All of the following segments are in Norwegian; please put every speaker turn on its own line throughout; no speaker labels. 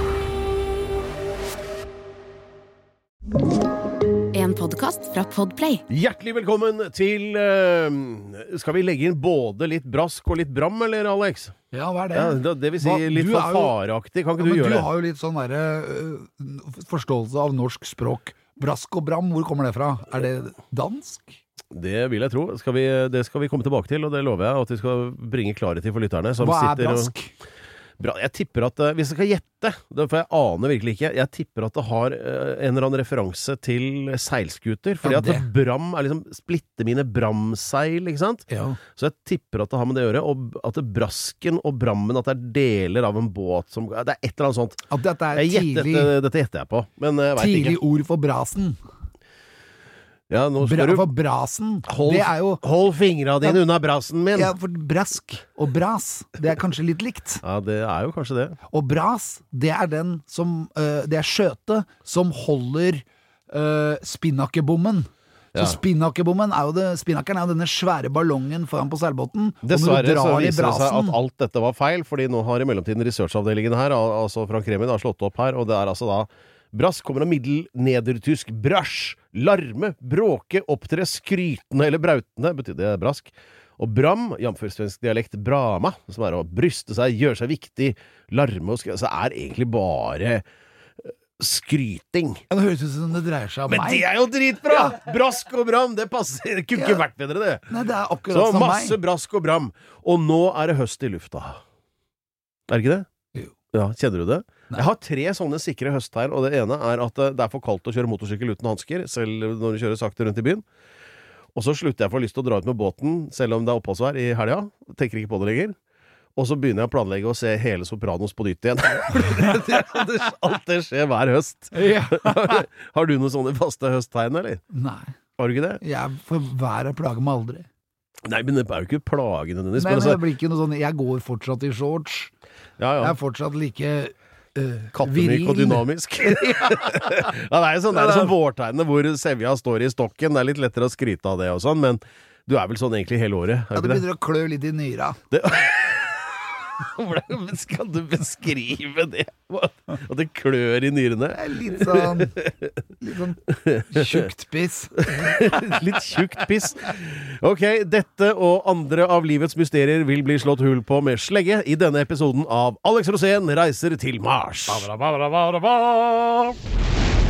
En podkast fra Podplay.
Hjertelig velkommen til eh, Skal vi legge inn både litt brask og litt bram, eller, Alex?
Ja, hva er det?
Ja, det, det vil si
Hva-
litt
du er jo-
fanfareaktig. Kan
Ja,
ikke
men
du gjøre
du
det?
har jo litt sånn derre øh, forståelse av norsk språk. Brask og bram, hvor kommer det fra? Er det dansk?
Det vil jeg tro. Skal vi, det skal vi komme tilbake til, og det lover jeg at vi skal bringe klarhet i for lytterne. som
Hva er
sitter og-
brask?
Bra. Jeg tipper at eh, Hvis jeg skal gjette, det- for jeg aner virkelig ikke Jeg tipper at det har eh, en eller annen referanse til seilskuter. Fordi
Ja,
at
det.
bram er liksom splitte mine bramseil, ikke sant?
Ja.
Så jeg tipper at det har med det å gjøre. Og at det brasken og brammen At det er deler av en båt som Det er et eller annet sånt.
At dette er
Jeg gjetter, eh,
tidlig,
dette, dette gjetter jeg på, men eh, jeg veit
tidlig
ikke.
ord for brasen.
Ja, nå
Bra,
skal du
for brasen,
Hold-
det er jo
Hold fingra dine unna brassen min!
ja, for brask og bras, det er kanskje litt likt.
Ja, det er jo kanskje det.
Og bras, det er den som øh, Det er skjøtet som holder øh, spinnakerbommen.
Ja.
Så spinnakerbommen er jo det, spinnakeren er jo denne svære ballongen foran på seilbåten. og når du
Dessverre så
drar i
viser det seg
brasen-
at alt dette var feil, fordi nå har i mellomtiden researchavdelingen her, al- altså Frank Remin, har slått opp her, og det er altså da Brass kommer av middelnedertysk brasj, larme, bråke, opptre skrytende eller brautende, betyr det brask. Og bram, jf. svensk dialekt brama, som er å bryste seg, gjøre seg viktig, larme og skryte, så er egentlig bare eh, skryting.
Ja, Det høres ut som det dreier seg om
Men
meg.
det er jo dritbra! Brask og bram, det passer. Det kunne
Ja.
ikke vært bedre, det.
Nei, det er akkurat
Så
som
masse
meg.
brask og bram. Og nå er det høst i lufta. Er det ikke det?
Jo.
Ja, Kjenner du det?
Nei.
Jeg har tre sånne sikre høsttegn, og det ene er at eh, det er for kaldt å kjøre motorsykkel uten hansker, selv når du kjører sakte rundt i byen. Og så slutter jeg å få lyst til å dra ut med båten, selv om det er oppholdsvær i helga. Tenker ikke på det lenger. Og så begynner jeg å planlegge å se hele Sopranos på nytt igjen. Fordi det- det- Alt det skjer hver høst. Har du noen sånne faste høsttegn, eller?
Nei,
Har du ikke det?
jeg for været plager meg aldri.
Nei, men det er jo ikke plagende nødvendigvis.
Nei,
men
men
altså-
jeg blir ikke noe sånn Jeg går fortsatt i shorts.
ja, ja.
Jeg er fortsatt like øh,
Kattemyk og dynamisk. ja, det er jo sånn, det er sånn vårtegnet hvor sevja står i stokken. Det er litt lettere å skryte av det og sånn, men du er vel sånn egentlig hele året?
Ja,
Er du ikke
det
det?
begynner å klø litt i nyra.
Hvordan skal du beskrive det? At det klør i nyrene?
Det er litt sånn Litt sånn tjukt piss.
Litt tjukt piss. Ok, dette og andre av livets mysterier vil bli slått hull på med slegge i denne episoden av Alex Rosén reiser til Mars.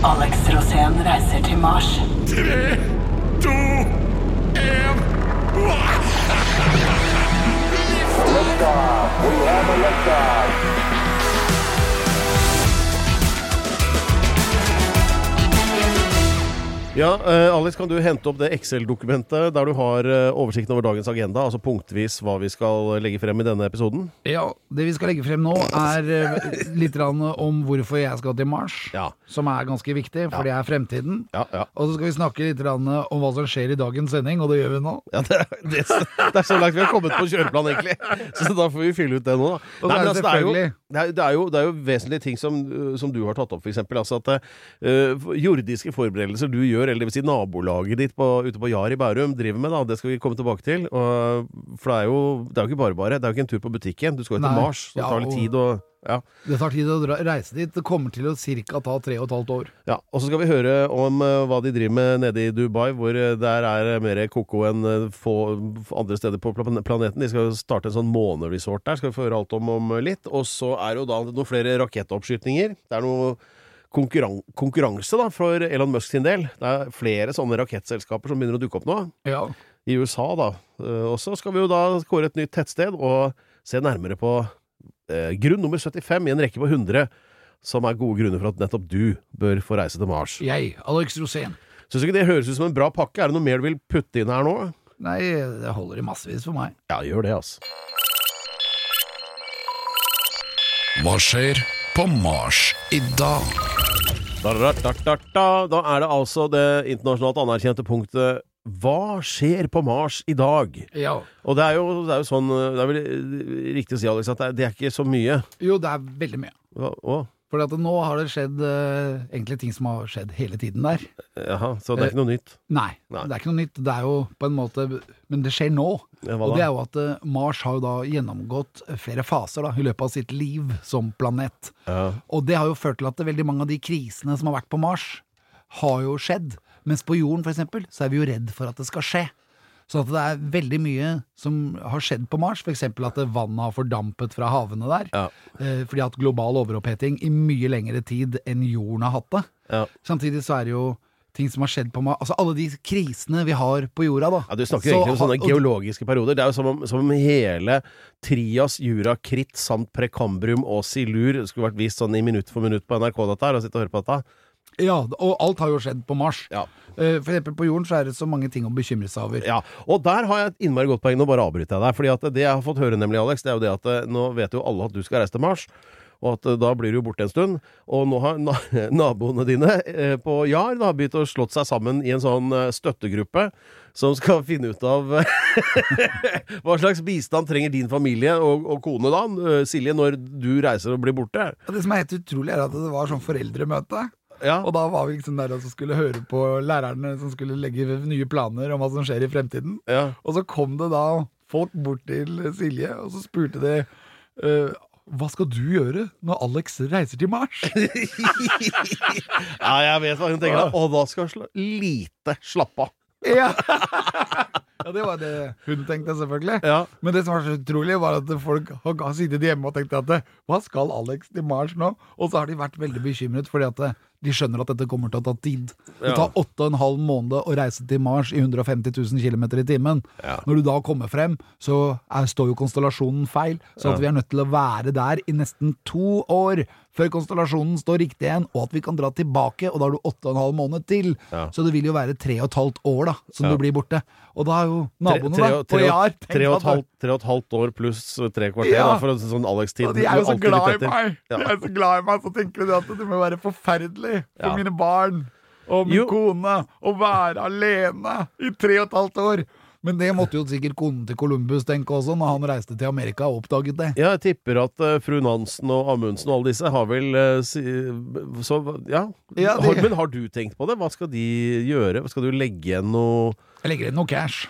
Alex Rosén reiser til Mars.
Ja, eh, Alex, kan du hente opp det Excel-dokumentet der du har eh, oversikten over dagens agenda, altså punktvis hva vi skal eh, legge frem i denne episoden?
Ja, det vi skal legge frem nå, er øh, litt grann om hvorfor jeg skal til Mars.
Ja.
Som er ganske viktig, for det er fremtiden.
Ja, ja.
Og så skal vi snakke litt grann om hva som skjer i dagens sending, og det gjør vi nå.
Ja, det, er- det, er så- det er så langt vi har kommet på kjøreplan, egentlig. Så da får vi fylle ut det nå, da.
Og så
Nei, men
er det
altså, det, er jo,
selvfølgelig-
det, er, det, er jo, det er jo vesentlige ting som, øh, som du har tatt opp, f.eks. Altså at øh, jordiske forberedelser du gjør, eller dvs. Si nabolaget ditt på, ute på Jar i Bærum driver med, da, det skal vi komme tilbake til. Og, for det er, jo, det er jo ikke bare bare. Det er jo ikke en tur på butikken. Du skal jo til
Nei.
Mars, så det
Ja,
tar litt
og-
tid. Og, ja.
Det tar tid å dra, reise dit. Det kommer til å cirka ta tre og et halvt år.
Ja, og så skal vi høre om eh, hva de driver med nede i Dubai, hvor eh, der er eh, mer koko enn eh, få andre steder på plan- planeten. De skal starte en sånn måneresort der, skal vi få høre alt om om litt. Og så er det jo da noen flere rakettoppskytninger. Det er noe konkurran konkurranse da, for Elon Musk sin del. Det er flere sånne rakettselskaper som begynner å dukke opp nå.
Ja.
I USA, da. Eh, Og så skal vi jo da kåre et nytt tettsted og se nærmere på eh, grunn nummer 75 i en rekke på 100, som er gode grunner for at nettopp du bør få reise til Mars.
Jeg, Alex Rosén.
Syns du ikke det høres ut som en bra pakke? Er det noe mer du vil putte inn her nå?
Nei, det holder i massevis for meg.
Ja, gjør det, altså.
Hva skjer på Mars i dag?
Da, da, da, da, da. da er det altså det internasjonalt anerkjente punktet Hva skjer på Mars i dag?
Ja.
Og det er jo, det er jo sånn Det er vel eh, riktig å si, Alex, at det er, det er ikke så mye.
Jo, det er veldig mye.
Hva, å,
For at nå har det skjedd eh, egentlig ting som har skjedd hele tiden der.
jaha, så det er ikke noe nytt.
Nei,
Nei.
det er ikke noe nytt. Det er jo på en måte Men det skjer nå.
Ja, hva
og
da?
det er jo at eh, Mars har jo da gjennomgått eh, flere faser da, i løpet av sitt liv som planet. Og det har jo ført til at veldig mange av de krisene som har vært på Mars, har jo skjedd. Mens på jorden, for eksempel, så er vi jo redd for at det skal skje. Så at det er veldig mye som har skjedd på Mars, f.eks. at eh, vannet har fordampet fra havene der.
Ja.
Eh, fordi at global overoppheting i mye lengre tid enn jorden har hatt det.
Ja.
Samtidig så er det jo ting som har skjedd på Mars. Altså alle de krisene vi har på jorda, da.
Ja, Du snakker
Så
egentlig om
har-
sånne
og-
geologiske perioder. Det er jo som om, som om hele Trias, Jura, Kritt samt Prekambrum og Silur skulle vært vist sånn i minutt for minutt på NRK, dette her, og sitte og høre på dette.
Ja, og alt har jo skjedd på Mars.
Ja.
Eh, For eksempel på jorden så er det så mange ting å bekymre seg over.
Ja, og der har jeg et innmari godt poeng. Nå bare avbryter jeg deg. Fordi at det jeg har fått høre, nemlig, Alex, det er jo det at eh, nå vet jo alle at du skal reise til Mars. Og at eh, da blir du jo borte en stund. Og nå har na naboene dine eh, på Jar da, begynt å slått seg sammen i en sånn eh, støttegruppe som skal finne ut av eh, hva slags bistand trenger din familie og, og kone da, eh, Silje, når du reiser og blir borte.
Og Det som er helt utrolig, er at det var sånn foreldremøte.
Ja,
Og da var vi liksom der og så skulle høre på lærerne som skulle legge nye planer om hva som skjer i fremtiden.
ja.
Og så kom det da folk bort til Silje, og så spurte de eh, hva skal du gjøre når Alex reiser til Mars?
ja jeg vet hva hun tenker. da. Og da skal sl lite slappe av.
ja. ja, det var det hun tenkte, selvfølgelig.
Ja.
Men det som var så utrolig, var at folk har ga- sittet hjemme og tenkt at eh, hva skal Alex til Mars nå? Og så har de vært veldig bekymret, fordi at eh, de skjønner at dette kommer til å ta tid. Det
Ja.
tar åtte og en halv måned å reise til Mars i 150 000 km i timen. Når du da kommer frem, så er, står jo konstellasjonen feil, så at vi er nødt til å være der i nesten to år før konstellasjonen står riktig igjen, og at vi kan dra tilbake, og da har du åtte og en halv måned til. Så det vil jo være tre og et halvt år da, som du blir borte. Og da har jo naboene
Tre- tre-
da,
tre-
og jeg har tenkt
tre og et
at-
halvt- Tre og et halvt år pluss eh, tre kvarter,
Ja.
da, for en sånn Alex-tid.
Og de er jo så
Alltid litt
glad i
etter.
meg!
Ja.
De er så glad i meg, så tenker de at det må være forferdelig
Ja.
for mine barn og min
Jo.
kone å være alene i tre og et halvt år. Men det måtte jo sikkert konen til Columbus tenke også, når han reiste til Amerika og oppdaget det.
Ja, jeg tipper at eh, fru Nansen og Amundsen og alle disse har vel eh, si, Så ja.
Ja, de-
Har- Men har du tenkt på det? Hva skal de gjøre? Skal du legge igjen noe
Jeg legger inn noe cash.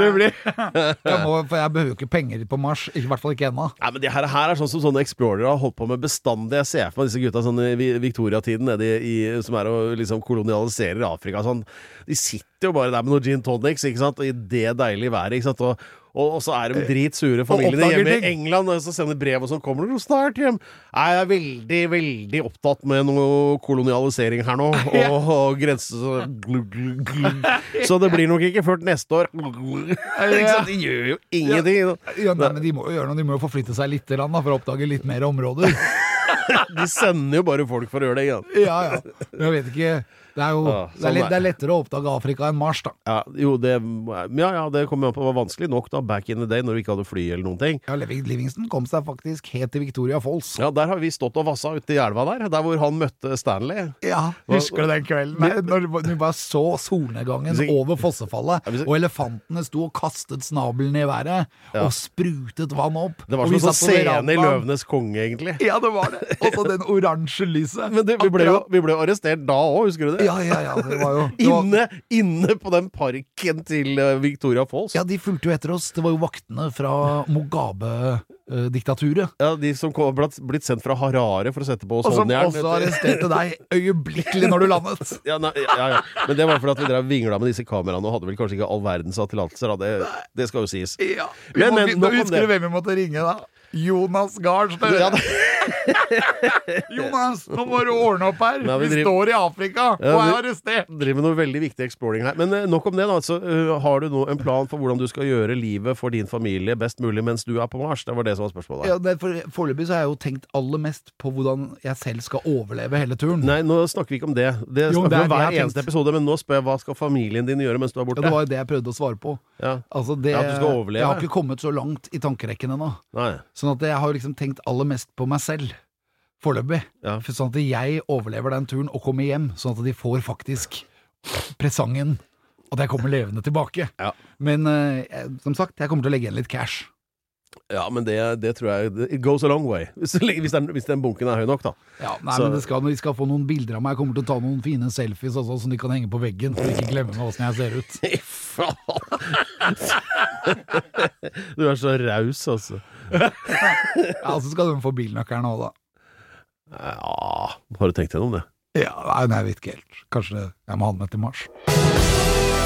Det blir jeg, må, For jeg behøver jo ikke penger på Mars. I hvert fall ikke ennå.
Nei, men det her, her er sånn som sånne Explorer har holdt på med bestandig. Jeg ser for meg disse gutta sånn i vi- Victoria-tiden nede i, i Som er og liksom kolonialiserer Afrika sånn. De sitter jo bare der med noen gin tonics ikke sant? og i det deilige været. ikke sant? Og, og, og så er de dritsure familiene
Eh, oppdager
hjemme
ting.
i England, og så sender brev, og så kommer du snart hjem. Nei, Jeg er veldig, veldig opptatt med noe kolonialisering her nå, og, og grense... Så det blir nok ikke ført neste år. Ikke sant? De gjør jo ingenting.
Ja, nei, men de må jo gjøre noe, de må jo forflytte seg litt grann, da, for å oppdage litt mer områder.
De sender jo bare folk for å gjøre det. Ikke sant?
Ja, ja. Men Jeg vet ikke. Det er jo
Ja,
det, er
sånn
lett,
er
det er lettere å oppdage Afrika enn Mars, da.
Ja, jo, det, ja, ja, det kom jo an på. Det var vanskelig nok da, back in the day, når vi ikke hadde fly eller noen ting.
Ja, Levi- Livingston kom seg faktisk helt til Victoria Falls.
Ja, Der har vi stått og vassa ute i elva der, der hvor han møtte Stanley.
Ja, Husker du den kvelden? Nei, når vi- vi bare så solnedgangen
Hvis jeg-
over fossefallet,
Ja, hvis jeg-
og elefantene sto og kastet snabelen i været, og sprutet vann opp.
Det var
og vi
som en sånn
satt på
scene i
verandaen.
Løvenes konge, egentlig.
Ja, det var det. Og så den oransje lyset.
Men du, vi, ble jo, vi ble jo arrestert da òg, husker du det?
Ja, ja, ja. Det var jo det var,
Inne, inne på den parken til eh, Victoria Falls.
Ja, de fulgte jo etter oss. Det var jo vaktene fra eh, Mugabe-diktaturet.
Ja, De som kom, ble blitt sendt fra Harare for å sette på oss
Og som
håndjern.
også
vet du.
arresterte deg øyeblikkelig når du landet.
Ja, nei, ja, ja. Men det var fordi at vi drev vingla med disse kameraene og hadde vel kanskje ikke all verdens tillatelser. da. Det, det skal jo sies.
Ja.
Men, men, nok om
husker
det.
du hvem vi måtte ringe da? Jonas Gahr Støre.
Ja, det-
Jonas, nå må du ordne opp her!
Nei, vi
vi
driver-
står i Afrika og
Ja,
er
vi-
arrestert!
driver med noe veldig viktig exploring her. Men eh, nok om det, da. Altså, eh, har du nå en plan for hvordan du skal gjøre livet for din familie best mulig mens du er på Mars? Det var det som var spørsmålet.
Ja, det, for, foreløpig så har jeg jo tenkt aller mest på hvordan jeg selv skal overleve hele turen.
Nei, nå snakker vi ikke om det. Det
Jo,
snakker
det
vi
er
om
det
hver
jeg har
eneste
tenkt.
episode, men nå spør jeg hva skal familien din gjøre mens du er
Ja,
borte?
det var jo det jeg prøvde å svare på.
Ja.
Altså, det,
Ja, at du skal overleve.
Jeg har ikke kommet så langt i tankerekken ennå.
Nei.
Sånn at jeg har liksom tenkt aller mest på meg selv. Foreløpig.
Ja.
For Sånn at jeg overlever den turen og kommer hjem, sånn at de får faktisk presangen. At jeg kommer levende tilbake.
Ja.
Men eh, jeg, som sagt, jeg kommer til å legge igjen litt cash.
Ja, men det, det tror jeg It goes a long way. Hvis, hvis, den, hvis den bunken er høy nok, da.
Ja, nei,
Så-
men det skal, De skal få noen bilder av meg. Jeg kommer til å ta noen fine selfies også, som de kan henge på veggen. Så de ikke glemmer meg åssen jeg ser ut.
Fy faen! du er så raus, altså.
Ja, Så skal de få bilnøkkelen òg, da.
Ja, har du tenkt gjennom det?
Ja, nei, nei, jeg vet ikke helt. Kanskje jeg må ha den med til Mars.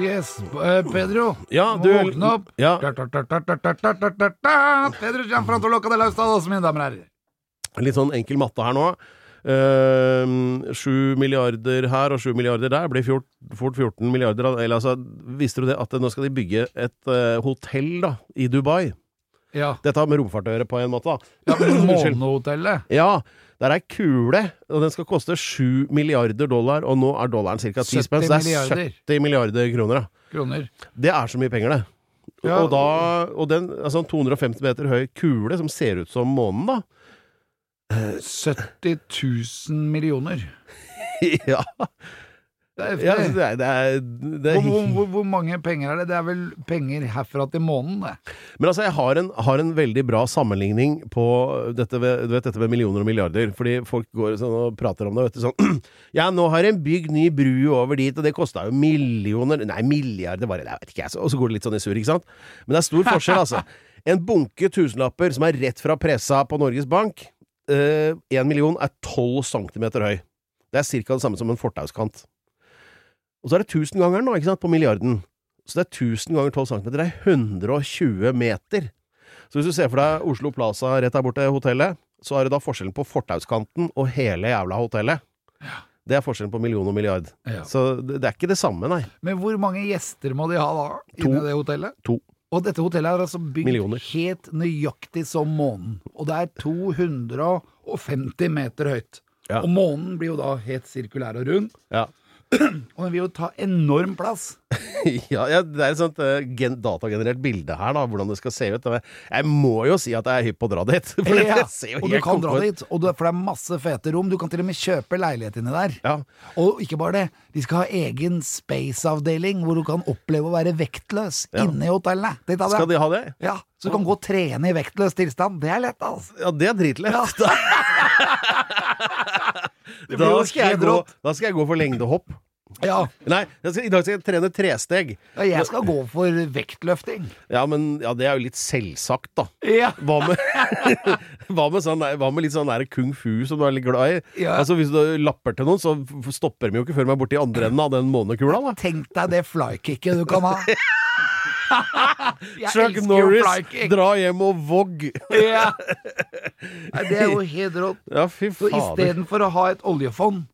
Yes, eh, Pedro.
Ja,
Må
du-
Våkne opp.
Ja.
Da, da, da, da, da, da, da, da, da, da. Pedro kommer fram til å lukke det løs, da, da, så mine damer og herrer.
Litt sånn enkel matte her nå. Ehm, Sju milliarder her og sju milliarder der blir fjort, fort 14 milliarder. av- Eller altså, visste du det at nå skal de bygge et eh, hotell da, i Dubai?
Ja.
Dette har med romfart å gjøre på en måte, da.
ja men
Unnskyld.
Månehotellet.
Ja, der er ei kule, og den skal koste 7 milliarder dollar, og nå er dollaren ca. 10
70
spenn, så det er
milliarder.
70 milliarder kroner. da.
Kroner.
Det er så mye penger, det.
Ja.
Og, da, og den altså, en 250 meter høy kule som ser ut som månen, da.
70 000 millioner.
ja,
Det er
ja
heftig.
det er, det er, det er
Hvor, hvor, hvor, hvor mange penger er det? Det er vel penger herfra til månen, det.
Men altså, jeg har en, har en veldig bra sammenligning på dette ved, du vet, dette med millioner og milliarder. Fordi folk går sånn og prater om det, vet du, sånn Ja, nå har en bygd ny bru over dit, og det kosta jo millioner Nei, milliarder, bare. Jeg vet ikke, jeg. så- Og så går det litt sånn i surr, ikke sant? Men det er stor forskjell, altså. En bunke tusenlapper som er rett fra pressa på Norges Bank, én million er tolv centimeter høy. Det er ca. det samme som en fortauskant. Og så er det tusengangeren, da, ikke sant, på milliarden. Så det er 1000 ganger 12 cm. Det er 120 meter. Så hvis du ser for deg Oslo Plaza rett der borte, hotellet, så er det da forskjellen på fortauskanten og hele jævla hotellet. Det er forskjellen på million og milliard.
Ja.
Så det, det er ikke det samme, nei.
Men hvor mange gjester må de ha da?
To.
Inne i det hotellet?
To.
Og dette hotellet er altså bygd
Millioner.
helt nøyaktig som månen. Og det er 250 meter høyt.
Ja.
Og månen blir jo da helt sirkulær og rund.
Ja,
Og den vil jo ta enorm plass.
ja, Det er et sånt eh, gen datagenerert bilde her, da, hvordan det skal se ut. Jeg må jo si at jeg er hypp på å dra dit. For
Ja,
det ser jo
Og du
helt
kan
konge
dra
ut.
dit, og du, for det er masse fete rom. Du kan til og med kjøpe leilighet inni der.
Ja.
Og ikke bare det, de skal ha egen space-avdeling hvor du kan oppleve å være vektløs
Ja.
inne i hotellet. Tenk deg det.
Skal de ha det?
Ja, Så du kan gå og trene i vektløs tilstand. Det er lett, altså.
Ja, det er dritlett. da,
blir jo
skal jeg
helt
gå,
rått.
da skal jeg gå for lengdehopp.
Ja,
Nei, jeg skal, i dag skal jeg trene tresteg.
ja jeg skal gå for vektløfting.
Ja, men ja, det er jo litt selvsagt, da.
Ja.
Hva med, hva med, sånn, der- hva med litt sånn der kung fu som du er litt glad i?
Ja.
Altså Hvis du lapper til noen, så f- stopper de jo ikke før de er borti andre enden av den månekula, da.
Tenk deg det flykicket du kan ha. Jeg
Chuck
elsker jo
Norris,
flykick.
dra hjem og vogg!
Ja. Nei, det er jo helt rått.
Ja, fy
Så
fader.
istedenfor å ha et oljefond,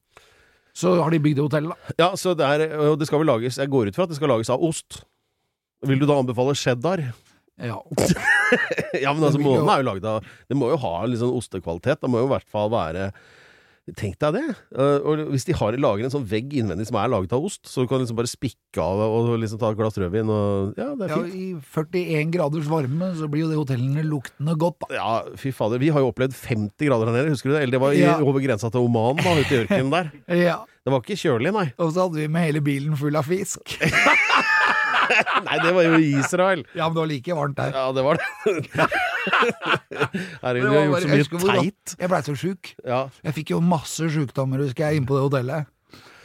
så har de bygd hotellet, da.
Ja, så det er, og det skal vel lages Jeg går ut fra at det skal lages av ost. Vil du da anbefale cheddar?
Ja.
Ja, men altså,
Det vil jo-
månen er jo laget av Det må jo ha litt sånn ostekvalitet. Det må jo i hvert fall være Tenk deg det! Eh, Og hvis de har lager en sånn vegg innvendig som er laget av ost, så du kan liksom bare spikke av og liksom ta et glass rødvin og Ja, det er
ja.
fint.
I 41 graders varme så blir jo det hotellene luktende godt, da.
Ja, fy fader. Vi har jo opplevd 50 grader her nede, husker du det? Eller det var i,
Ja.
over grensa til Oman, da, ute i ørkenen der.
Ja.
Det var ikke kjølig, nei.
Og så hadde vi med hele bilen full av fisk.
Nei, det var jo i Israel.
Ja, men det var like varmt der.
Ja, det var det. Herregud,
Det
vi har
var
gjort
bare- jeg
så
husker
mye
hvor-
teit.
Jeg blei så sjuk.
Ja.
Jeg fikk jo masse sjukdommer, husker jeg, inne på det hotellet.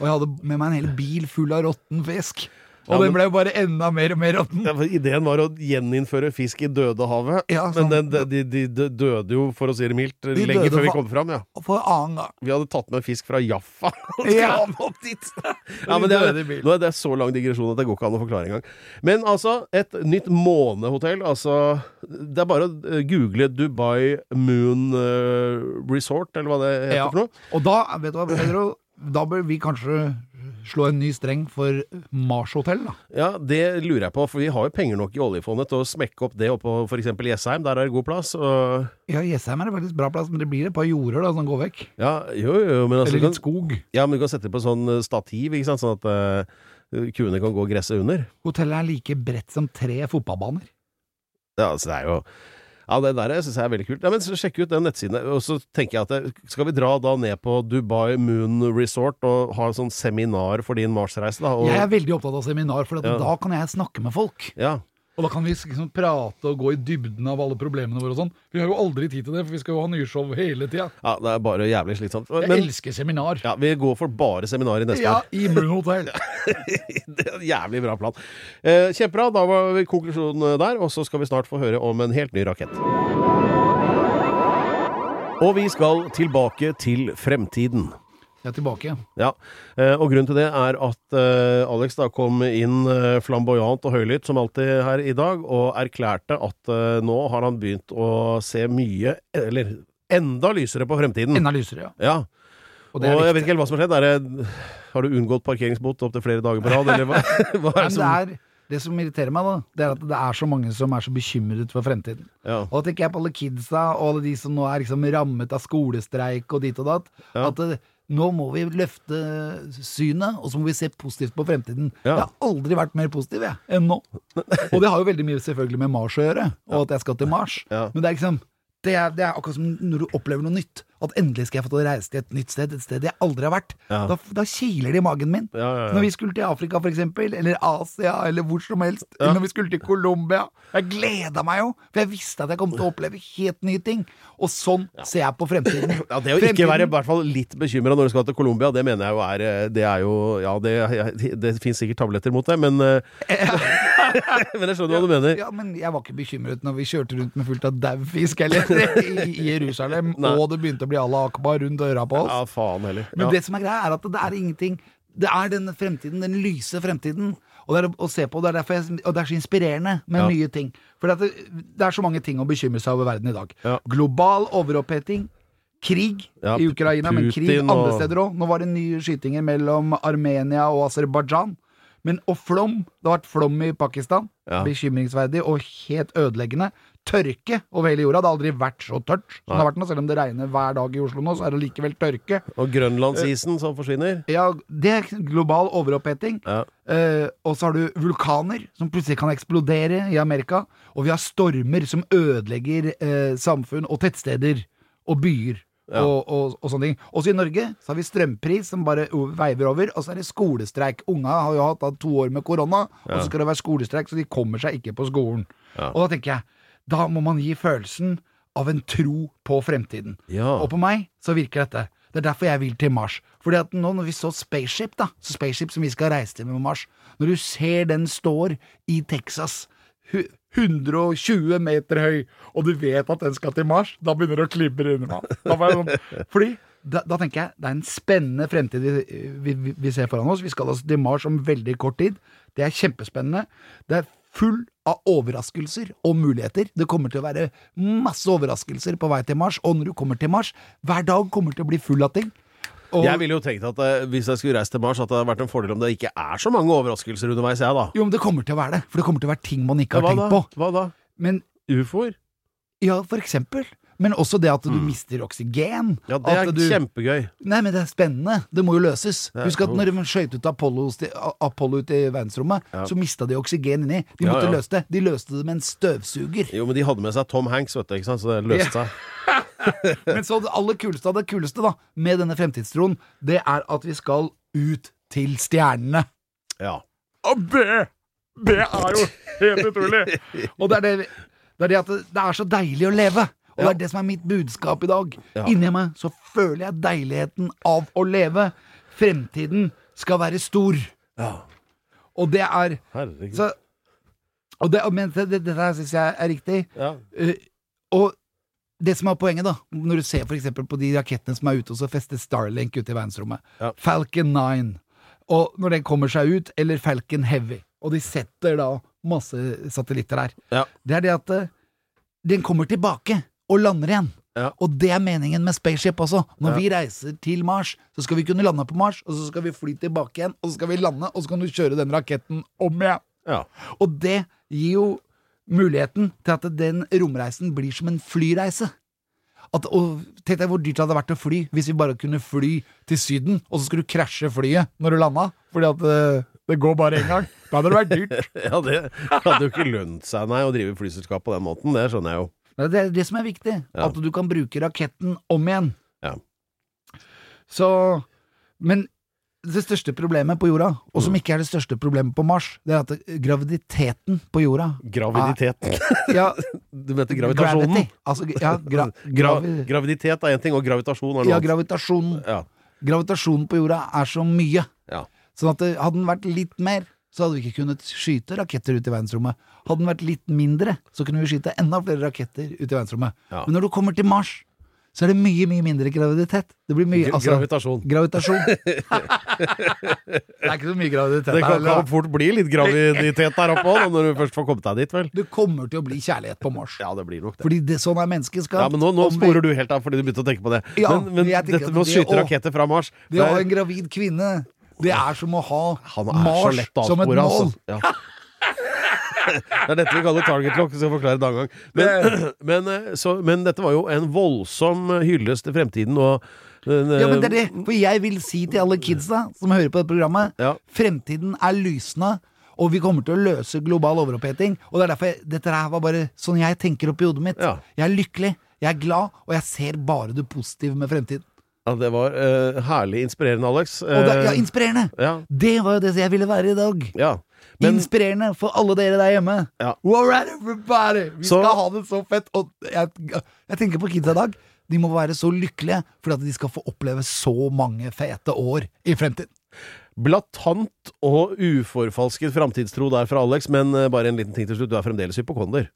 Og jeg hadde med meg en hel bil full av råtten fisk. Og den ble jo bare enda mer og mer råtten.
Ja, for Ideen var å gjeninnføre fisk i Dødehavet,
Ja,
men
sant.
den, de, de, de døde jo, for å si det mildt, lenge
døde
før vi
for-
kom fram. ja
Og For annen gang.
Vi hadde tatt med fisk fra Jaffa.
Ja.
Ja, men det er,
døde i bilen.
nå er det så lang digresjon at det går ikke an å forklare engang. Men altså, et nytt månehotell. Altså, det er bare å eh, google Dubai Moon eh, Resort, eller hva det heter
Ja.
for noe.
Og da, vet du hva, Pedro, da bør vi kanskje slå en ny streng for Marshotell, da.
Ja, Det lurer jeg på, for vi har jo penger nok i oljefondet til å smekke opp det oppå f.eks. Jessheim. Der er det god plass. Og,
Ja, Jessheim er det faktisk bra plass, men det blir et par jorder da som går vekk.
ja, jo, jo, men altså,
Eller
du
litt
Altså, kan,
skog.
ja, men du kan sette det på sånn eh, stativ, ikke sant? sånn at eh, kuene kan gå gresset under.
Hotellet er like bredt som tre fotballbaner.
Ja, altså det er jo ja, det der syns jeg er veldig kult. Ja, men så Sjekk ut den nettsiden. Og så tenker jeg at det, Skal vi dra da ned på Dubai Moon Resort og ha en sånn seminar for din Mars-reise, da? Og,
Jeg er veldig opptatt av seminar, for at
Ja.
da kan jeg snakke med folk.
ja.
Og da kan vi liksom prate og gå i dybden av alle problemene våre og sånn. Vi har jo aldri tid til det, for vi skal jo ha nye show hele tida.
ja, det er bare jævlig slitsomt.
Jeg
Men
elsker seminar.
ja, vi går for bare seminar i neste
Ja,
år.
i Moon Hotel.
Det er en jævlig bra plan. Eh, kjempebra. Da var vi konklusjonen eh, der, og så skal vi snart få høre om en helt ny rakett. Og vi skal tilbake til fremtiden.
Jeg er tilbake igjen.
Ja, eh, og grunnen til det er at eh, Alex da kom inn eh, flamboyant og høylytt som alltid her i dag, og erklærte at eh, nå har han begynt å se mye, eller enda lysere på fremtiden.
Enda lysere, ja.
Ja,
Og
og
det er
jeg
viktig.
vet ikke helt hva som har skjedd. Er det, har du unngått parkeringsbot opptil flere dager på rad, eller hva, hva er det
Men det,
som
er, det som irriterer meg, da, det er at det er så mange som er så bekymret for fremtiden.
ja.
Og da tenker jeg på alle kidsa og alle de som nå er liksom rammet av skolestreik og dit og datt.
Ja.
At eh, nå må vi løfte synet, og så må vi se positivt på fremtiden.
Ja.
Jeg har aldri vært mer positiv jeg, enn nå. Og det har jo veldig mye selvfølgelig med Mars å gjøre, og at jeg skal til Mars.
Ja.
Men det er liksom det er, det er akkurat som når du opplever noe nytt. At endelig skal jeg få til å reise til et nytt sted, et sted jeg aldri har vært.
Ja.
Da, da kiler det i magen min.
Ja, ja, ja.
Når vi skulle til Afrika, for eksempel, eller Asia, eller hvor som helst, eller når vi skulle til Colombia Jeg gleda meg jo, for jeg visste at jeg kom til å oppleve helt nye ting. Og sånn ser jeg på fremtiden.
Ja, det å ikke være i hvert fall litt bekymra når du skal til Colombia, det mener jeg jo er eh, Det er jo Ja, det, jeg- det fins sikkert tabletter mot det, men eh, Men jeg skjønner hva du mener.
Ja, men jeg var ikke bekymret når vi kjørte rundt med fullt av daud fisk heller, i i Jerusalem,
Nei.
og det begynte å bli Allah akbar rundt øra på oss.
Ja, faen heller.
Men
Ja.
det som er greia, er at det er ingenting Det er den fremtiden, den lyse fremtiden. Og det er å se på, og det er, derfor jeg, og det er så inspirerende med
Ja.
nye ting. For det, det er så mange ting å bekymre seg over i verden i dag.
Ja.
Global overoppheting. Krig
Ja,
i Ukraina, men krig
Putin
andre
og-
steder òg. Nå var det nye skytinger mellom Armenia og Aserbajdsjan. Men og flom. Det har vært flom i Pakistan.
Ja.
Bekymringsverdig og helt ødeleggende. Tørke over hele jorda. Det har aldri vært så tørt som det har vært nå. Selv om det regner hver dag i Oslo nå, så er det likevel tørke.
Og grønlandsisen som forsvinner.
Ja, det er global overoppheting.
Ja.
Eh, og så har du vulkaner som plutselig kan eksplodere i Amerika. Og vi har stormer som ødelegger eh, samfunn og tettsteder og byer. Og, og, og sånne ting. Også i Norge så har vi strømpris som bare o- veiver over, og så er det skolestreik. Unga har jo hatt da to år med korona, og så skal det være skolestreik, så de kommer seg ikke på skolen. Og da tenker jeg, da må man gi følelsen av en tro på fremtiden.
Ja.
Og på meg så virker dette. Det er derfor jeg vil til Mars. Fordi at nå når vi så Spaceship, da, så Spaceship som vi skal reise til med Mars, når du ser den står i Texas, hu- 120 meter høy, og du vet at den skal til Mars, da begynner det å klibre under meg. Da får jeg sånn- Fordi da, da tenker jeg det er en spennende fremtid vi, vi, vi- vi ser foran oss. Vi skal altså til Mars om veldig kort tid. Det er kjempespennende. Det er full av overraskelser og muligheter. Det kommer til å være masse overraskelser på vei til Mars, og når du kommer til Mars, hver dag kommer til å bli full av ting. Og,
Jeg ville jo tenkt at eh, hvis jeg skulle reist til Mars, at det hadde vært en fordel om det ikke er så mange overraskelser underveis, jeg, da.
Jo, men det kommer til å være det, for det kommer til å være ting man ikke
Ja, hva
har tenkt
da?
på.
Hva da?
Men
Ufoer?
ja, for eksempel. Men også det at du mister oksygen.
Mm. Ja, det er
at du,
kjempegøy.
Nei, men det er spennende. Det må jo løses.
Ja.
Husk at når de skjøt ut Apollo, sti- A- Apollo ut i verdensrommet, så mista de oksygen inni. De
Ja,
måtte
ja.
løse det. De løste det med en støvsuger.
Jo, men de hadde med seg Tom Hanks, vet du, ikke sant, så det løste seg.
Men så det aller kuleste av det kuleste da med denne fremtidstroen, det er at vi skal ut til stjernene.
Ja.
Og det, det er jo helt utrolig! Og det er det, det er det at det, det er så deilig å leve. Og det er det som er mitt budskap i dag.
Ja.
Inni meg så føler jeg deiligheten av å leve. Fremtiden skal være stor.
Ja.
Og det er
Herregud.
så, og det, Men det, det, dette her syns jeg er riktig.
Ja.
Eh, og det som er poenget, da, når du ser for eksempel på de rakettene som er ute, og så fester Starlink ute i verdensrommet,
Ja.
Falcon 9, og når den kommer seg ut, eller Falcon Heavy, og de setter da masse satellitter der,
Ja.
det er det at eh, den kommer tilbake og lander igjen.
Ja.
Og det er meningen med spaceship også. Når
Ja.
vi reiser til Mars, så skal vi kunne lande på Mars, og så skal vi fly tilbake igjen, og så skal vi lande, og så kan du kjøre den raketten om igjen.
ja.
Og det gir jo muligheten til at den romreisen blir som en flyreise. At, og Tenk deg hvor dyrt det hadde vært å fly hvis vi bare kunne fly til Syden, og så skulle du krasje flyet når du landa, fordi at eh, det går bare én gang. Da hadde det vært dyrt.
ja, det hadde jo ikke lønt seg, nei, å drive flyselskap på den måten. Det skjønner jeg jo.
Nei, Det er det som er viktig,
Ja.
at du kan bruke raketten om igjen.
Ja.
Så Men det største problemet på jorda, og
Mm.
som ikke er det største problemet på Mars, det er at graviditeten på jorda
Graviditeten.
ja,
Du mente gravitasjonen?
Ah. Gravity. Altså, g- ja, gra,
Gra
gravi-
graviditet er én ting, og gravitasjon er
ja,
noe annet.
gravitasjonen.
Ja.
Gravitasjonen på jorda er så mye.
Ja.
Sånn at det, hadde den vært litt mer, så hadde vi ikke kunnet skyte raketter ut i verdensrommet. Hadde den vært litt mindre, så kunne vi skyte enda flere raketter ut i verdensrommet.
Ja.
Men når du kommer til Mars, så er det mye, mye mindre graviditet. Det blir mye
Gra-
altså,
gravitasjon.
Gravitasjon. det er ikke så mye graviditet
Det kan,
eller?
kan fort bli litt graviditet der oppe også, når du først får kommet deg dit, vel.
Du kommer til å bli kjærlighet på Mars.
Ja, det blir nok det.
Fordi det, sånn er mennesket skapt.
Ja, men nå, nå
Om vi-
sporer du helt av fordi du begynte å tenke på det.
Ja,
men men
men jeg tenker
dette
at
med å
det-
skyte
å,
raketter fra Mars
Det å ha en
er-
gravid kvinne, det er som å ha
Han er så
Mars
lett å
som et
avspore,
mål.
altså. Ja. Det er dette vi kaller target lock, skal jeg forklare det en annen gang. Men, men, eh, så, men dette var jo en voldsom hyllest til fremtiden og eh,
Ja, men det er det. For jeg vil si til alle kidsa som hører på dette programmet,
Um, Ja.
fremtiden er lysende. Og vi kommer til å løse global overoppheting. Og det er derfor jeg, dette her var bare sånn jeg tenker oppi hodet mitt.
Ja.
Jeg er lykkelig, jeg er glad, og jeg ser bare det positive med fremtiden.
Ja, det var eh, herlig inspirerende, Alex.
Og det,
Eh,
ja, inspirerende!
ja.
Det var jo det jeg ville være i dag.
ja. Men
Inspirerende for alle dere der hjemme.
Ja.
All right, everybody! Vi
Så-
skal ha det så fett. Og jeg, jeg tenker på kidsa i dag. De må være så lykkelige for at de skal få oppleve så mange fete år i fremtiden.
blatant og uforfalsket framtidstro der fra Alex, men eh, bare en liten ting til slutt. Du er fremdeles hypokonder.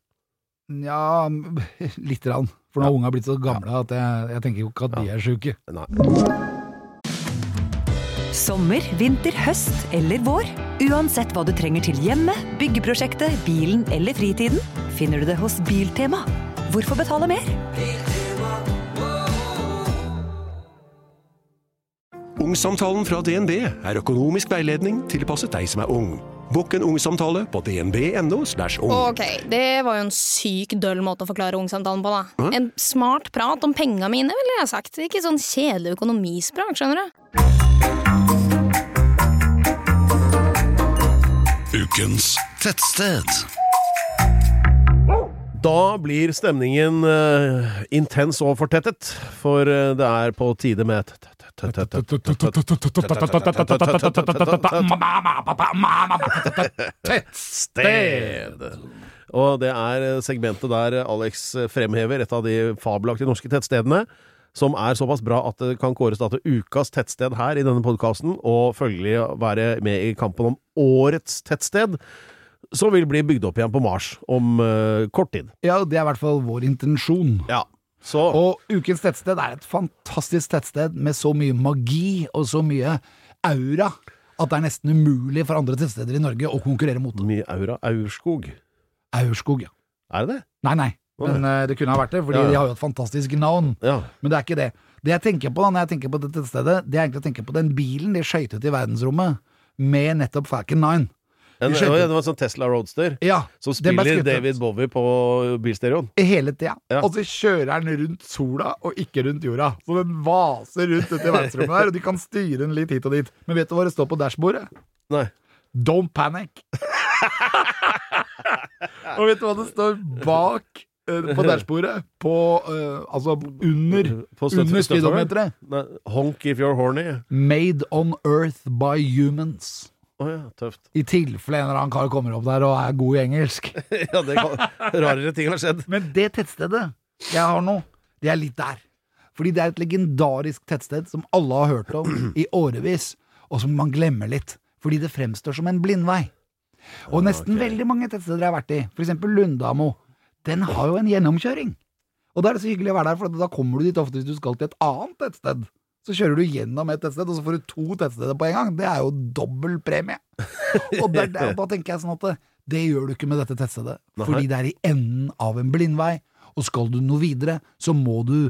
Nja, m- lite grann. For nå har unga blitt så gamle at jeg, jeg tenker jo ikke at de er sjuke.
Sommer, vinter, høst eller vår. Uansett hva du trenger til hjemme, byggeprosjektet, bilen eller fritiden, finner du det hos Biltema. Hvorfor betale mer?
Ungsamtalen fra DNB er økonomisk veiledning tilpasset deg som er ung. Bokk en ungsamtale på dnb.no. slash ung.
Ok, det var jo en syk døll måte å forklare ungsamtalen på, da. En smart prat om penga mine, ville jeg sagt. Ikke sånn kjedelig økonomisprat, skjønner du.
Ukens tettsted.
Da blir stemningen eh, intens og fortettet, for eh, det er på tide med et Tettsted. Og det er eh, segmentet der Alex eh, fremhever et av de fabelaktige norske tettstedene. Som er såpass bra at det kan kåres da til ukas tettsted her i denne podkasten, og følgelig være med i kampen om årets tettsted, som vil bli bygd opp igjen på Mars om eh, kort tid.
Ja, det er i hvert fall vår intensjon.
Ja. Så
Og Ukens tettsted er et fantastisk tettsted med så mye magi og så mye aura at det er nesten umulig for andre tettsteder i Norge å konkurrere mot det.
mye aura Aurskog.
Aurskog, ja.
Er det det?
Nei, nei.
Å,
Men eh, det kunne ha vært det, fordi
Ja, ja.
de har jo et fantastisk navn.
Ja.
Men det er ikke det. Det jeg tenker på da, når jeg tenker på dette stedet, det er egentlig å tenke på den bilen de skøyt ut i verdensrommet med nettopp Falcon 9.
En,
skjønte.
det var en sånn Tesla Roadster
Ja,
som
den ble
spiller
skutt ut
David Bowie på bilstereoen.
Hele tida.
Ja.
Og så kjører den rundt sola, og ikke rundt jorda. Så den vaser rundt dette verdensrommet der, og de kan styre den litt hit og dit. Men vet du hva det står på dashbordet?
Nei.
Don't panic. og vet du hva det står bak eh, på dashbordet? På eh, Altså under,
På støt-
under
støttoppgang?
speedometeret.
Nei. Honk if you're horny.
Made on earth by humans.
Å ja, tøft.
I tilfelle en eller annen kar kommer opp der og er god i engelsk.
Ja, det kan, rarere ting har skjedd.
Men det tettstedet jeg har nå, det er litt der. Fordi det er et legendarisk tettsted som alle har hørt om i årevis, og som man glemmer litt. fordi det fremstår som en blindvei. Og nesten veldig mange tettsteder jeg har vært i, for eksempel Lundamo, den har jo en gjennomkjøring. Og da er det så hyggelig å være der, for da kommer du dit ofte hvis du skal til et annet tettsted. Så kjører du gjennom et tettsted, og så får du to tettsteder på en gang. Det er jo dobbel premie. Og der, der, da tenker jeg sånn at det, det gjør du ikke med dette tettstedet.
Nei.
Fordi det er i enden av en blindvei, og skal du noe videre, så må du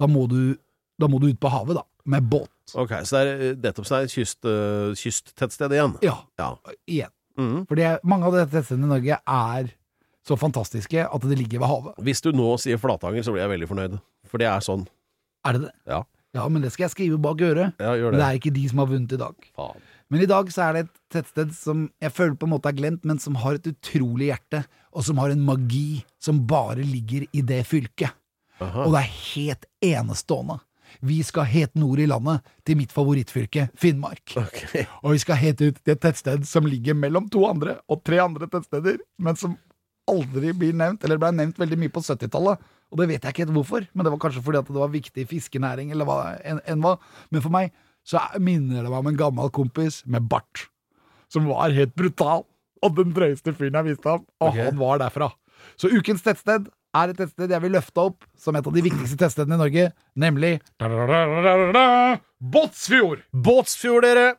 Da må du, da må du ut på havet, da. Med båt.
Ok, Så det er eh, nettopp så det er et kyst, eh, kysttettsted igjen?
Ja.
ja.
Igjen. Fordi mange av de tettstedene i Norge er så fantastiske at det ligger ved havet.
Hvis du nå sier Flatanger, så blir jeg veldig fornøyd. For det er sånn.
Er det det?
Ja.
Ja, men det skal jeg skrive bak øret.
Ja, gjør det.
Men det er ikke de som har vunnet i dag.
Faen.
Men i dag så er det et tettsted som jeg føler på en måte er glemt, men som har et utrolig hjerte, og som har en magi som bare ligger i det fylket. Og det er helt enestående. Vi skal helt nord i landet, til mitt favorittfylke, Finnmark. Og vi skal helt ut til et tettsted som ligger mellom to andre og tre andre tettsteder, men som aldri blir nevnt, eller ble nevnt veldig mye på 70-tallet. Og det vet jeg ikke helt hvorfor, men det var kanskje fordi at det var viktig fiskenæring, eller hva enn enn hva. Men for meg så er- minner det meg om en gammel kompis med bart, som var helt brutal, og den drøyeste fyren jeg visste om, og han var derfra. Så ukens tettsted er et tettsted jeg vil løfte opp som et av de viktigste tettstedene i Norge, nemlig Båtsfjord!
Båtsfjord, dere!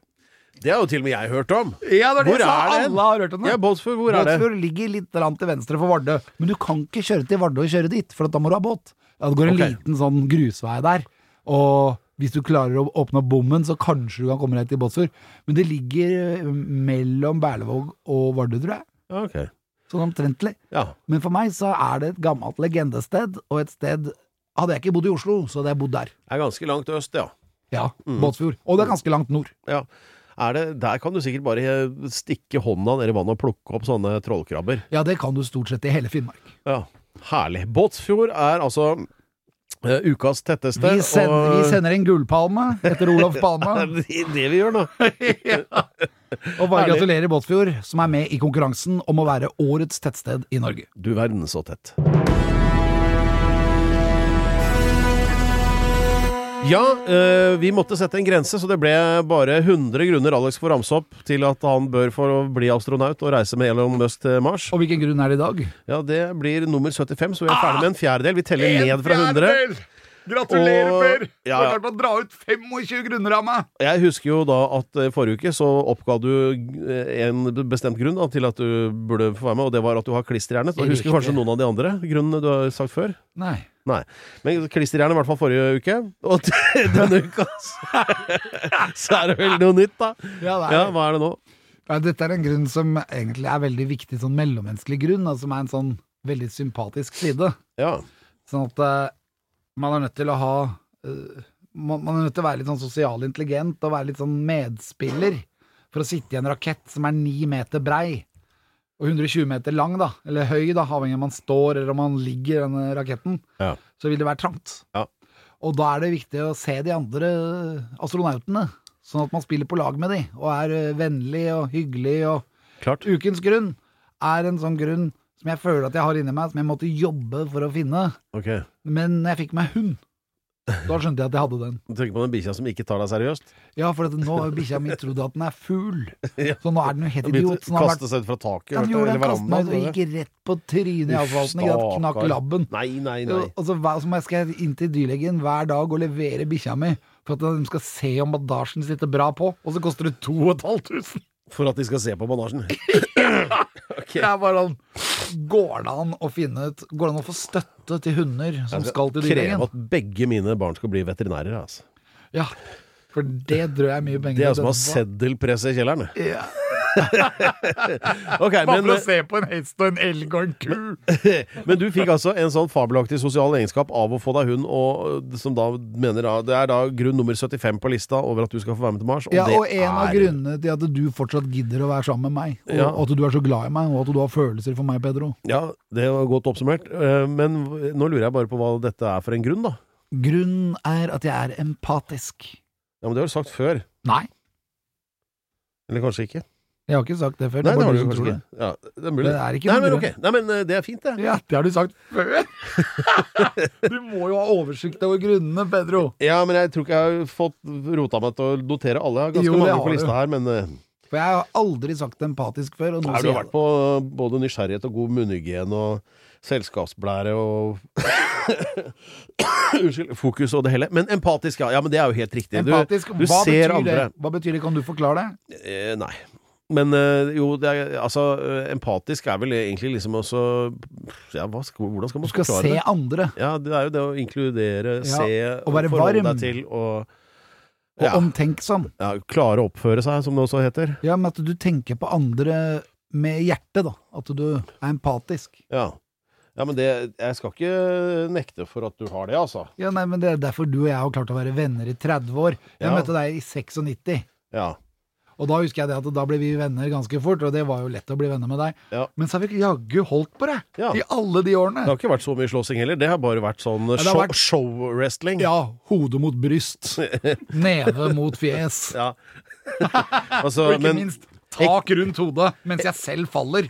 Det har jo til og med jeg hørt om.
Ja, det er det
Hvor
jeg sa.
er den?
Alle har hørt om det.
Ja, Båtsfjord, hvor er det?
Båtsfjord ligger litt grann til venstre for Vardø, men du kan ikke kjøre til Vardø og kjøre dit, for at da må du ha båt. Ja, det går en
Ok.
liten sånn grusvei der, og hvis du klarer å åpne opp bommen, så kanskje du kan komme deg til Båtsfjord. Men det ligger eh, mellom Berlevåg og Vardø, tror jeg.
Ok.
Sånn omtrentlig.
Ja.
Men for meg så er det et gammelt legendested, og et sted Hadde jeg ikke bodd i Oslo, så hadde jeg bodd der.
Det er ganske langt øst, ja.
Ja,
Mm.
Båtsfjord. Og det er ganske langt nord.
ja. Er det, der kan du sikkert bare eh, stikke hånda ned i vannet og plukke opp sånne trollkrabber.
Ja, det kan du stort sett i hele Finnmark.
Ja, Herlig. Båtsfjord er altså eh, ukas tetteste.
Vi sender,
og-
vi sender en gullpalme etter Olof Palme.
Det er det vi gjør nå.
Og bare
Herlig.
gratulerer Båtsfjord, som er med i konkurransen om å være årets tettsted i Norge.
Du verden så tett. Ja, eh, vi måtte sette en grense, så det ble bare 100 grunner Alex får ramse opp til at han bør få bli astronaut og reise med Elon Musk til Mars.
Og hvilken grunn er det i dag?
Ja, det blir nummer 75, så vi er ferdig med en fjerdedel. Vi teller ned fra 100.
Gratulerer,
Og-
Per! Du
Ja,
har
ja.
klart å dra ut 25 grunner av meg!
Jeg husker jo da at eh, forrige uke så oppga du eh, en bestemt grunn da, til at du burde få være med, og det var at du har klisterhjerne. Så
Riktig.
jeg husker kanskje noen av de andre grunnene du har sagt før.
Nei.
Nei. Men klisterhjerne i hvert fall forrige uke, og denne uka så så er det vel noe nytt, da.
Ja, det er
Ja,
det.
hva er det nå?
Ja, dette er en grunn som egentlig er veldig viktig, sånn mellommenneskelig grunn, og som er en sånn veldig sympatisk side.
Ja.
Sånn at eh, man er nødt til å ha eh, man, man er nødt til å være litt sånn sosial intelligent og være litt sånn medspiller for å sitte i en rakett som er ni meter brei og 120 meter lang, da, eller høy, da, avhengig av om man står eller om man ligger i denne raketten,
Ja.
så vil det være trangt.
Ja.
Og da er det viktig å se de andre eh, astronautene, sånn at man spiller på lag med de, og er eh, vennlig og hyggelig og
Klart.
Ukens grunn er en sånn grunn som jeg føler at jeg har inni meg, som jeg måtte jobbe for å finne.
Ok.
Men når jeg fikk meg hund, da skjønte jeg at jeg hadde den.
Du tenker på den bikkja som ikke tar deg seriøst?
Ja, for at nå har bikkja mi trodd at den er fugl,
Ja.
så nå er den jo helt
Den begynte å
idiot. Så den har
kaste
vært
seg ut fra taket?
ja, den
hørte jeg,
gjorde
eller
det,
verandaen,
kastet meg ut og
tror jeg.
gikk rett på trynet i
Uff,
asfalten. Ikke sant? Knakk
stakkar.
labben.
Nei, nei, nei.
Og så, hva- så må jeg, skal jeg inn til dyrlegen hver dag og levere bikkja mi for at de skal se om bandasjen sitter bra på, og så koster det 2500!
For at de skal se på bandasjen.
Det er bare sånn Går det an å finne ut Går det an å få støtte til hunder som skal til dyrlegen?
Kreve at begge mine barn skal bli veterinærer. Altså.
Ja, for det drøyer jeg mye penger
Det
i.
er som å ha
Hva-
seddelpresse i kjelleren. det.
Ja.
Ok,
Bare
men, eh,
for å se på en hest og en elg og en ku.
men du fikk altså en sånn fabelaktig sosial egenskap av å få deg hund, og, eh, som da mener da, det er da grunn nummer 75 på lista over at du skal få være med til Mars.
Ja,
det
og en av
er-
grunnene til at du fortsatt gidder å være sammen med meg, og
Ja.
og at du er så glad i meg, og at du har følelser for meg, Pedro.
Ja, det var godt oppsummert. Eh, Men nå lurer jeg bare på hva dette er for en grunn, da.
Grunnen er at jeg er empatisk.
Ja, men det har du sagt før.
Nei,
Eller kanskje ikke.
jeg har ikke sagt det før.
Nei,
er
det
bare
har
du
du jo
som tror
kanskje ikke. Ja, det er mulig.
Det er ikke
Nei,
noen
men,
grunn.
ok. Nei, men eh, det er fint, det.
Ja, det har du sagt før. du må jo ha oversikt over grunnene, Pedro.
Ja, men jeg tror ikke jeg har fått rota meg til å notere alle. Jeg har ganske
Jo, det
mange
har
på lista
du.
her, men eh,
For jeg har aldri sagt empatisk før. Og nå
Har du
sier
vært på både nysgjerrighet og god munnhygiene og selskapsblære og Unnskyld. Fokus og det hele. Men empatisk, ja. ja men det er jo helt riktig.
jeg.
Du,
Empatisk,
du
hva,
ser
betyr
andre.
det? hva betyr det? Kan du forklare det?
Eh, nei. Men eh, jo, det er, altså eh, Empatisk er vel egentlig liksom også ja, hva, skal- Hvordan skal man
Du skal
forklare
se
det?
andre.
Ja, det er jo det å inkludere,
Ja,
se,
og være
forholde
varm.
deg til og
Og omtenksom.
Ja, klare å oppføre seg, som det også heter.
Ja, men at du tenker på andre med hjertet, da. At du er empatisk.
Ja. ja, men det Jeg skal ikke nekte for at du har det, altså.
Ja, nei, men Det er derfor du og jeg har klart å være venner i 30 år. Jeg
Ja.
møtte deg i 96.
Ja.
Og da husker jeg det at da ble vi venner ganske fort, og det var jo lett å bli venner med deg. Men så har vi jaggu holdt på deg i alle de årene.
Det har ikke vært så mye slåssing heller. Det har bare vært sånn
det har vært-
show-wrestling.
Ja. Hode mot bryst. Neve mot fjes.
Ja. Altså,
og ikke
men-
minst tak rundt hodet mens jeg selv faller.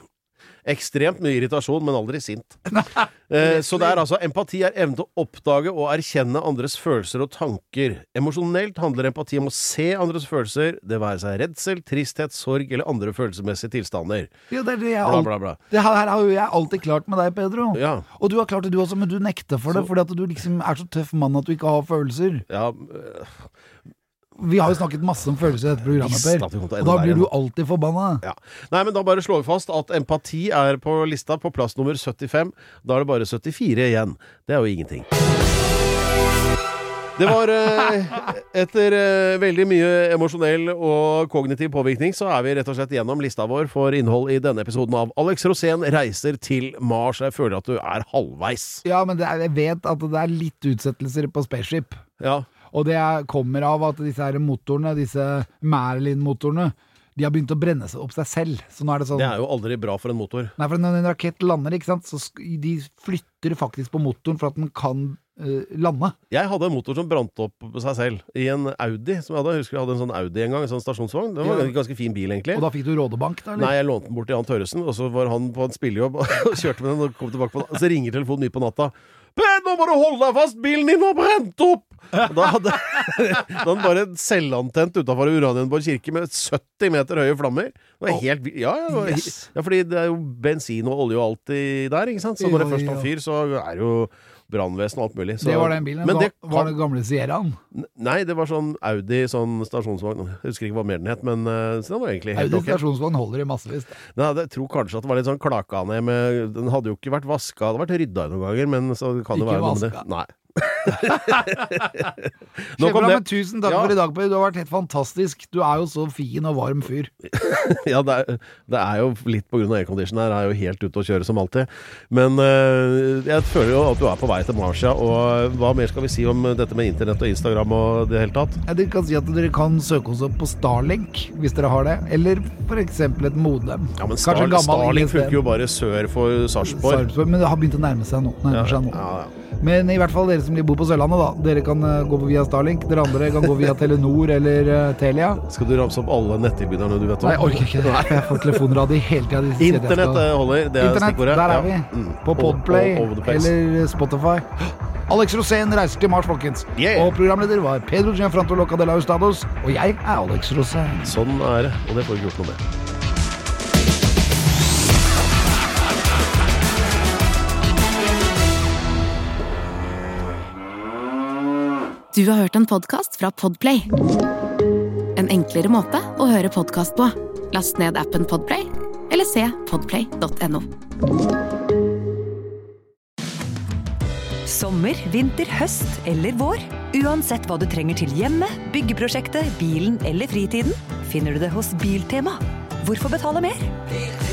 Ekstremt mye irritasjon, men aldri sint. Eh, så det er altså empati er evnen til å oppdage og erkjenne andres følelser og tanker. Emosjonelt handler empati om å se andres følelser, det være seg redsel, tristhet, sorg eller andre følelsesmessige tilstander.
Ja, det er det jeg
Bla,
alt-
bla, bla.
Det her har jo jeg alltid klart med deg, Pedro.
Ja.
Og du har klart det du også, men du nekter for det,
Så-
fordi at du liksom er så tøff mann at du ikke har følelser.
Ja,
Vi har jo snakket masse om følelser i dette programmet,
Visste
Per.
at vi kom til å
Og
ende
da
der
blir
igjen,
du alltid forbanna.
Nei, men da bare slår vi fast at empati er på lista på plass nummer 75. Da er det bare 74 igjen. Det er jo ingenting. Det var eh, Etter eh, veldig mye emosjonell og kognitiv påvirkning, så er vi rett og slett gjennom lista vår for innhold i denne episoden av Alex Rosén reiser til Mars. Jeg føler at du er halvveis.
Ja, men det er, jeg vet at det er litt utsettelser på Spaceship.
Ja.
Og det er- kommer av at disse her motorene, disse Merlin-motorene, de har begynt å brenne seg opp seg selv. Så nå er det sånn
Det er jo aldri bra for en motor.
Nei, for når en rakett lander, ikke sant, så sk- de flytter faktisk på motoren for at den kan eh, lande.
Jeg hadde en motor som brant opp på seg selv i en Audi. Som jeg hadde. Jeg husker jeg hadde en sånn Audi en gang, en sånn stasjonsvogn. Det var
Ja.
en ganske fin bil, egentlig.
Og da fikk du rådebank, da?
Nei,
Eller?
jeg lånte den bort til Jan Tørresen, og så var han på en spillejobb og kjørte med den og kom tilbake på den. Så ringer telefonen mye på natta. «Ben, nå må du holde deg fast! Bilen din har brent opp! Og Da hadde da hadde den bare selvantent utafor Uranienborg kirke med 70 meter høye flammer. Det var helt vilt. Ja, ja, det var-
Yes.
ja, fordi det er jo bensin og olje og alt i der, ikke sant? Så når det
Jo,
først
jo.
tar fyr, så er det jo brannvesen og alt mulig. Så,
det var den bilen.
Men
da,
det
var
kan-
den gamle Sierraen.
Nei, det var sånn Audi sånn stasjonsvogn. Jeg husker ikke hva mer den het, men eh, så den var egentlig helt
Audi
ok.
stasjonsvogn holder i massevis.
Nei, jeg tror kanskje at det var litt sånn klaka ned med Den hadde jo ikke vært vaska, det hadde vært rydda i noen ganger, men så kan det
Ikke
være noe med det.
vaska.
Nei. Nok om
Kjempebra, men
det.
tusen takk
Ja.
for i dag, Per. Du har vært helt fantastisk. Du er jo så fin og varm fyr.
Ja, det er, det er jo litt på grunn av aircondition her, er jo helt ute å kjøre som alltid. Men eh, jeg føler jo at du er på vei til Marsia, og eh, hva mer skal vi si om dette med internett og Instagram og det hele tatt?
Ja, Dere kan si at dere kan søke oss opp på Starlink, hvis dere har det. Eller f.eks. et modem.
Ja, men
Kanskje
Star,
gammel
Starling
ISDN.
funker jo bare sør for Sarpsborg.
Sarpsborg, Men det har begynt å nærme seg nå. Nærmer seg nå. Men i hvert fall dere som bor på Sørlandet, da. Dere kan eh, gå via Starlink. Dere andre kan gå via Telenor eller eh, Telia.
Skal du ramse opp alle nettilbyderne du vet om?
Nei, jeg orker ikke det. Jeg får telefoner av de hele tida.
Internett eh, holder, det er
Internett,
stikkordet.
der er
Ja.
vi.
Mm.
På
Over-
Podplay
over- over the place.
eller Spotify. Alex Rosén reiser til Mars, folkens. Og programleder var Pedro Gianfranto Locadela Ustados. Og jeg er Alex Rosén.
Sånn er det, og det får vi ikke gjort noe med.
Du har hørt en podcast fra Podplay En enklere måte å høre podcast på Last ned appen Podplay Eller se podplay.no
Sommer, vinter, høst eller vår. Uansett hva du trenger til hjemme, byggeprosjektet, bilen eller fritiden, finner du det hos Biltema. Hvorfor betale mer? Biltema.